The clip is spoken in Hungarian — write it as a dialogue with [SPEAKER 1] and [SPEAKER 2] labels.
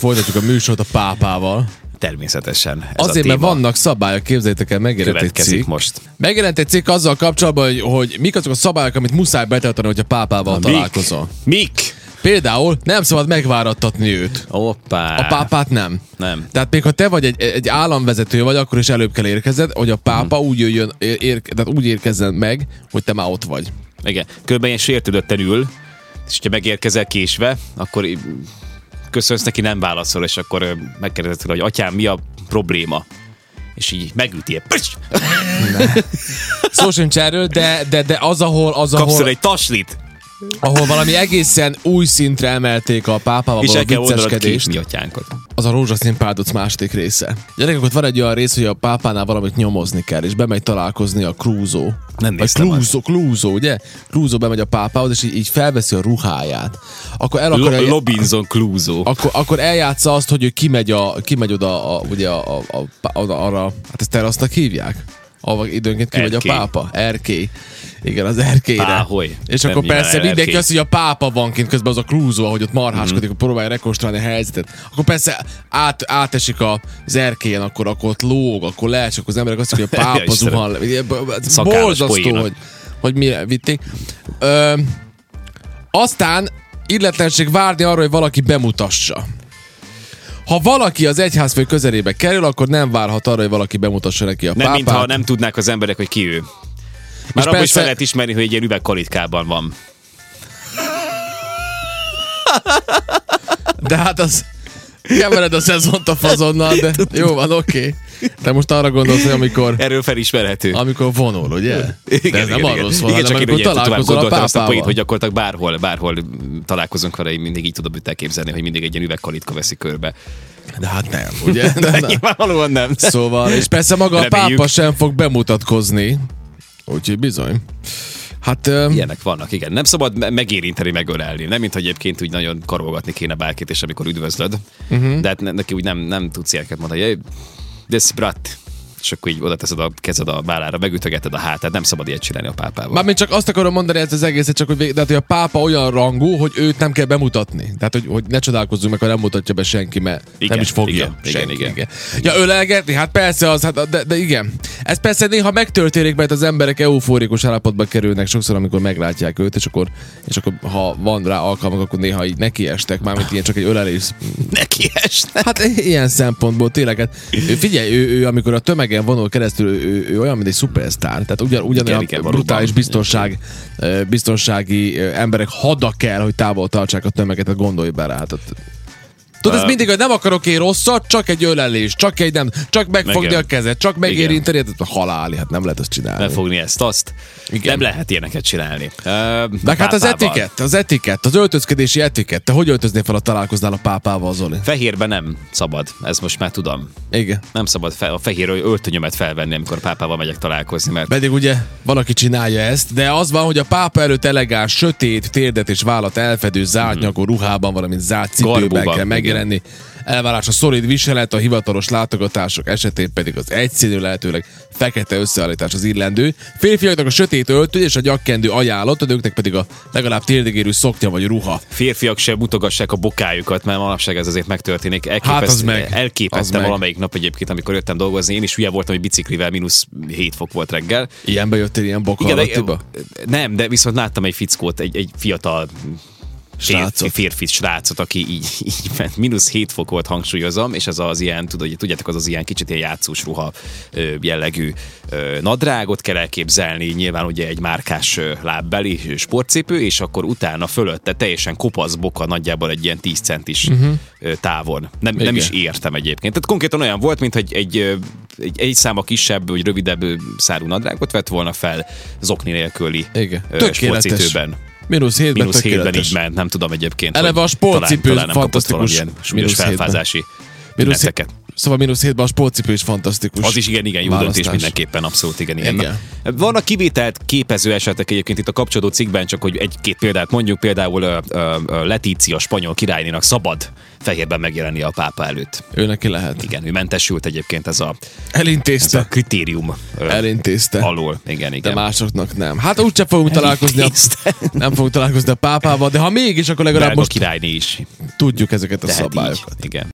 [SPEAKER 1] Folytatjuk a műsort a pápával.
[SPEAKER 2] Természetesen. Ez
[SPEAKER 1] Ez Azért,
[SPEAKER 2] a
[SPEAKER 1] mert
[SPEAKER 2] téma
[SPEAKER 1] vannak szabályok, képzeljétek el, megjelent egy
[SPEAKER 2] következik
[SPEAKER 1] cikk.
[SPEAKER 2] most.
[SPEAKER 1] Megjelent egy cikk azzal kapcsolatban, hogy, hogy mik azok a szabályok, amit muszáj betartani, hogy a pápával találkozol.
[SPEAKER 2] Mik?
[SPEAKER 1] Például nem szabad megvárattatni őt.
[SPEAKER 2] Oppá.
[SPEAKER 1] A pápát nem.
[SPEAKER 2] Nem.
[SPEAKER 1] Tehát még ha te vagy egy, egy államvezető vagy, akkor is előbb kell érkezned, hogy a pápa
[SPEAKER 2] Hm.
[SPEAKER 1] úgy jöjjön, ér, ér, tehát úgy érkezzen meg, hogy te már ott vagy.
[SPEAKER 2] Igen. Körülbelül ilyen sértődötten ül, és ha megérkezel késve, akkor í- köszönsz neki, nem válaszol, és akkor ö, megkérdezed tőle, hogy atyám, mi a probléma? És így megüti ilyen, pöcs!
[SPEAKER 1] Szó sincs erről, de, de, de az, ahol, az,
[SPEAKER 2] kapsz
[SPEAKER 1] ahol,
[SPEAKER 2] tőle egy taslit,
[SPEAKER 1] ahol valami egészen új szintre emelték a pápával
[SPEAKER 2] és
[SPEAKER 1] való
[SPEAKER 2] el kell mondanod ki,
[SPEAKER 1] vicceskedést.
[SPEAKER 2] mi atyánkot.
[SPEAKER 1] az a rózsaszín páldoc második része. Gyerekek, ott van egy olyan rész, hogy a pápánál valamit nyomozni kell, és bemegy találkozni a krúzó.
[SPEAKER 2] Nem
[SPEAKER 1] Vagy
[SPEAKER 2] néztem
[SPEAKER 1] krúzó, krúzó, ugye? Krúzó bemegy a pápához, és így, így felveszi a ruháját. Akkor el akarja...
[SPEAKER 2] Lo- Lobinson Clúzó.
[SPEAKER 1] akkor, akkor eljátsza azt, hogy ő kimegy, a, kimegy oda, a, ugye a, a, a, oda, arra, hát ezt terasznak hívják? Ahova időnként kimegy
[SPEAKER 2] Erkély.
[SPEAKER 1] a pápa. Erkély. Igen, az erkélyre.
[SPEAKER 2] Páholy.
[SPEAKER 1] És
[SPEAKER 2] Nem
[SPEAKER 1] akkor
[SPEAKER 2] nyilván
[SPEAKER 1] persze
[SPEAKER 2] erkély. Mm.
[SPEAKER 1] mindenki azt, hogy a pápa van kint, közben az a krúzó, ahogy ott marháskodik, hogy próbálja rekonstruálni a helyzetet. Akkor persze át, átesik a, az erkélyen, akkor, akkor ott lóg, akkor leesik, akkor az emberek azt mondják, hogy a
[SPEAKER 2] Ja,
[SPEAKER 1] pápa
[SPEAKER 2] Istenem.
[SPEAKER 1] zuhan le. Ugye, b- b- ez
[SPEAKER 2] Szakállas
[SPEAKER 1] Borzasztó,
[SPEAKER 2] poéna.
[SPEAKER 1] hogy, hogy mire vitték. Ö, aztán illetlenség várni arra, hogy valaki bemutassa. Ha valaki az egyházfő közelébe kerül, akkor nem várhat arra, hogy valaki bemutassa neki a
[SPEAKER 2] Nem,
[SPEAKER 1] pápát.
[SPEAKER 2] mintha nem tudnák az emberek, hogy ki ő. Már abban is
[SPEAKER 1] persze-
[SPEAKER 2] fel lehet ismerni, hogy egy ilyen üvegkalitkában van.
[SPEAKER 1] De hát az... Kevered a szezont a fazonnal, de jó van, oké. Te most arra gondolsz, hogy amikor,
[SPEAKER 2] Erről felismerhető.
[SPEAKER 1] amikor vonul, ugye? de ez nem arról szól, hanem
[SPEAKER 2] igen, csak én
[SPEAKER 1] amikor
[SPEAKER 2] ugye tovább
[SPEAKER 1] találkozol a
[SPEAKER 2] gondoltam azt a
[SPEAKER 1] pápával.
[SPEAKER 2] poént, hogy gyakorlatilag bárhol, bárhol találkozunk vele, én mindig így tudom őt elképzelni, hogy mindig egy ilyen üvegkalitka veszi körbe.
[SPEAKER 1] De hát nem, ugye? De nem.
[SPEAKER 2] Nyilvánvalóan nem.
[SPEAKER 1] Szóval, és persze maga a
[SPEAKER 2] Reméljük.
[SPEAKER 1] pápa sem fog bemutatkozni. Úgyhogy bizony. Hát... öm,
[SPEAKER 2] Ilyenek vannak, igen. Nem szabad me- megérinteni, megölelni. Nem, mint hogy egyébként úgy nagyon karolgatni kéne bárkit, és amikor üdvözlöd.
[SPEAKER 1] Mhm.
[SPEAKER 2] Uh-huh. De hát ne- neki úgy nem, nem tudsz ilyeneket mondani. hogy, "Jaj, This brat. És akkor így oda teszed a kezed a vállára, megütögeted a hátát. Nem szabad ilyet csinálni a pápával.
[SPEAKER 1] Mármint csak azt akarom mondani ezt az egészet, csak hogy, vég- de hát, hogy a pápa olyan rangú, hogy őt nem kell bemutatni. Tehát, hogy, hogy ne csodálkozzunk meg, ha nem mutatja be senki, mert igen, nem
[SPEAKER 2] Igen,
[SPEAKER 1] is fogja.
[SPEAKER 2] igen, igen,
[SPEAKER 1] senki,
[SPEAKER 2] igen.
[SPEAKER 1] Ja, ölelgetni? Hát persze az, hát, de, de, igen. Ez persze néha megtörténik, mert az emberek eufórikus állapotba kerülnek sokszor, amikor meglátják őt, és akkor, és akkor ha van rá alkalmak, akkor néha így nekiestek, mármint ilyen csak egy ölelés
[SPEAKER 2] Neki esne.
[SPEAKER 1] Hát ilyen szempontból tényleg. Hát, ő, figyelj, ő, ő, amikor a tömegen vonul keresztül, ő, ő, ő olyan, mint egy szupersztár. Tehát ugyan, ugyanolyan
[SPEAKER 2] Igen, igen, valóban.
[SPEAKER 1] brutális biztonság, ö, biztonsági ö, emberek hada kell, hogy távol tartsák a tömeget, tehát gondolj bele. Hát, ott- Tudod, ez mindig, hogy nem akarok én rosszat, csak egy ölelés, csak egy nem, csak megfogni
[SPEAKER 2] Igen.
[SPEAKER 1] a kezed, csak megérinteni, hát ott a haláli, hát nem lehet ezt csinálni.
[SPEAKER 2] Befogni ezt, azt.
[SPEAKER 1] Igen.
[SPEAKER 2] Igen. Nem lehet ilyeneket csinálni. Ö,
[SPEAKER 1] Meg hát az
[SPEAKER 2] pápával.
[SPEAKER 1] etikett, az etikett, az öltözkedési etikett. Te hogy öltöznél fel, ha találkoznál a pápával, Zoli?
[SPEAKER 2] Fehérben nem szabad, ez most már tudom.
[SPEAKER 1] Igen.
[SPEAKER 2] Nem szabad fe- a fehér öltönyömet felvenni, amikor a pápával megyek találkozni, mert
[SPEAKER 1] Pedig ugye valaki csinálja ezt, de az van, hogy a pápa előtt elegáns, sötét, térdet és vállat elfedő zártnyakú ruhában, valamint zárt cipőben
[SPEAKER 2] Mhm. Garbóban,
[SPEAKER 1] kell
[SPEAKER 2] igen.
[SPEAKER 1] megjelenni. Elvárás a szolid viselet, a hivatalos látogatások esetén pedig az egyszínű lehetőleg fekete összeállítás az illendő. Férfiaknak a sötét öltöny és a nyakkendő ajánlott, a nőknek pedig a legalább térdigérű szoknya vagy ruha.
[SPEAKER 2] férfiak sem mutogassák a bokájukat, mert manapság ez azért megtörténik. Elképeszt,
[SPEAKER 1] Hát az meg. Az
[SPEAKER 2] Elképesztem
[SPEAKER 1] meg.
[SPEAKER 2] valamelyik nap egyébként, amikor jöttem dolgozni, én is hülye voltam, hogy biciklivel mínusz 7 fok volt reggel.
[SPEAKER 1] Ilyenbe jöttél ilyen
[SPEAKER 2] Igen,
[SPEAKER 1] bokalattiba?
[SPEAKER 2] de, nem, de viszont láttam egy fickót, egy, egy fiatal
[SPEAKER 1] Srácot.
[SPEAKER 2] Férfi, férfi srácot, aki így, így ment. Mínusz 7 fok volt, hangsúlyozom, és ez az ilyen, tudod, ugye, tudjátok, az az ilyen kicsit ilyen játszós ruha ö, jellegű ö, nadrágot kell elképzelni, nyilván ugye egy márkás ö, lábbeli sportcipő, és akkor utána fölötte teljesen kopasz boka, nagyjából egy ilyen 10 centis uh-huh. távon. Nem, nem
[SPEAKER 1] Mhm. Igen.
[SPEAKER 2] is értem egyébként. Tehát konkrétan olyan volt, mint egy, egy, ö, egy, egy száma kisebb, vagy rövidebb ö, szárú nadrágot vett volna fel zokni nélküli
[SPEAKER 1] Igen.
[SPEAKER 2] ö,
[SPEAKER 1] Tökéletes.
[SPEAKER 2] sportcipőben.
[SPEAKER 1] Mínusz hétben
[SPEAKER 2] Mínusz hétben
[SPEAKER 1] tökéletes.
[SPEAKER 2] így ment, nem tudom egyébként.
[SPEAKER 1] Eleve
[SPEAKER 2] hogy
[SPEAKER 1] a sportcipő
[SPEAKER 2] talán- talán nem kapott
[SPEAKER 1] fantasztikus
[SPEAKER 2] valamilyen Súlyos
[SPEAKER 1] mínusz hétben.
[SPEAKER 2] felfázási
[SPEAKER 1] Mínusz hét-
[SPEAKER 2] tüneteket.
[SPEAKER 1] Szóval mínusz hétben a sportcipő is fantasztikus.
[SPEAKER 2] Az is igen, igen, jó döntés
[SPEAKER 1] választás.
[SPEAKER 2] mindenképpen, abszolút igen, igen.
[SPEAKER 1] Igen.
[SPEAKER 2] Vannak kivételt képező esetek egyébként itt a kapcsolódó cikkben, csak hogy egy-két példát mondjuk, például ö, ö, ö, Letícia spanyol királynénak szabad fehérben megjelenni a pápa előtt.
[SPEAKER 1] Ő neki lehet.
[SPEAKER 2] Igen, ő mentesült egyébként ez a, ez
[SPEAKER 1] Elintézte.
[SPEAKER 2] a kritérium ö,
[SPEAKER 1] Elintézte.
[SPEAKER 2] alól. Igen,
[SPEAKER 1] de
[SPEAKER 2] igen.
[SPEAKER 1] másoknak nem. Hát úgyse fogunk találkozni, a,
[SPEAKER 2] Elintézte.
[SPEAKER 1] nem fogunk találkozni a pápával, de ha mégis, akkor legalább
[SPEAKER 2] Drága
[SPEAKER 1] most
[SPEAKER 2] királyné is.
[SPEAKER 1] tudjuk ezeket a
[SPEAKER 2] Tehát így.
[SPEAKER 1] szabályokat.
[SPEAKER 2] Igen.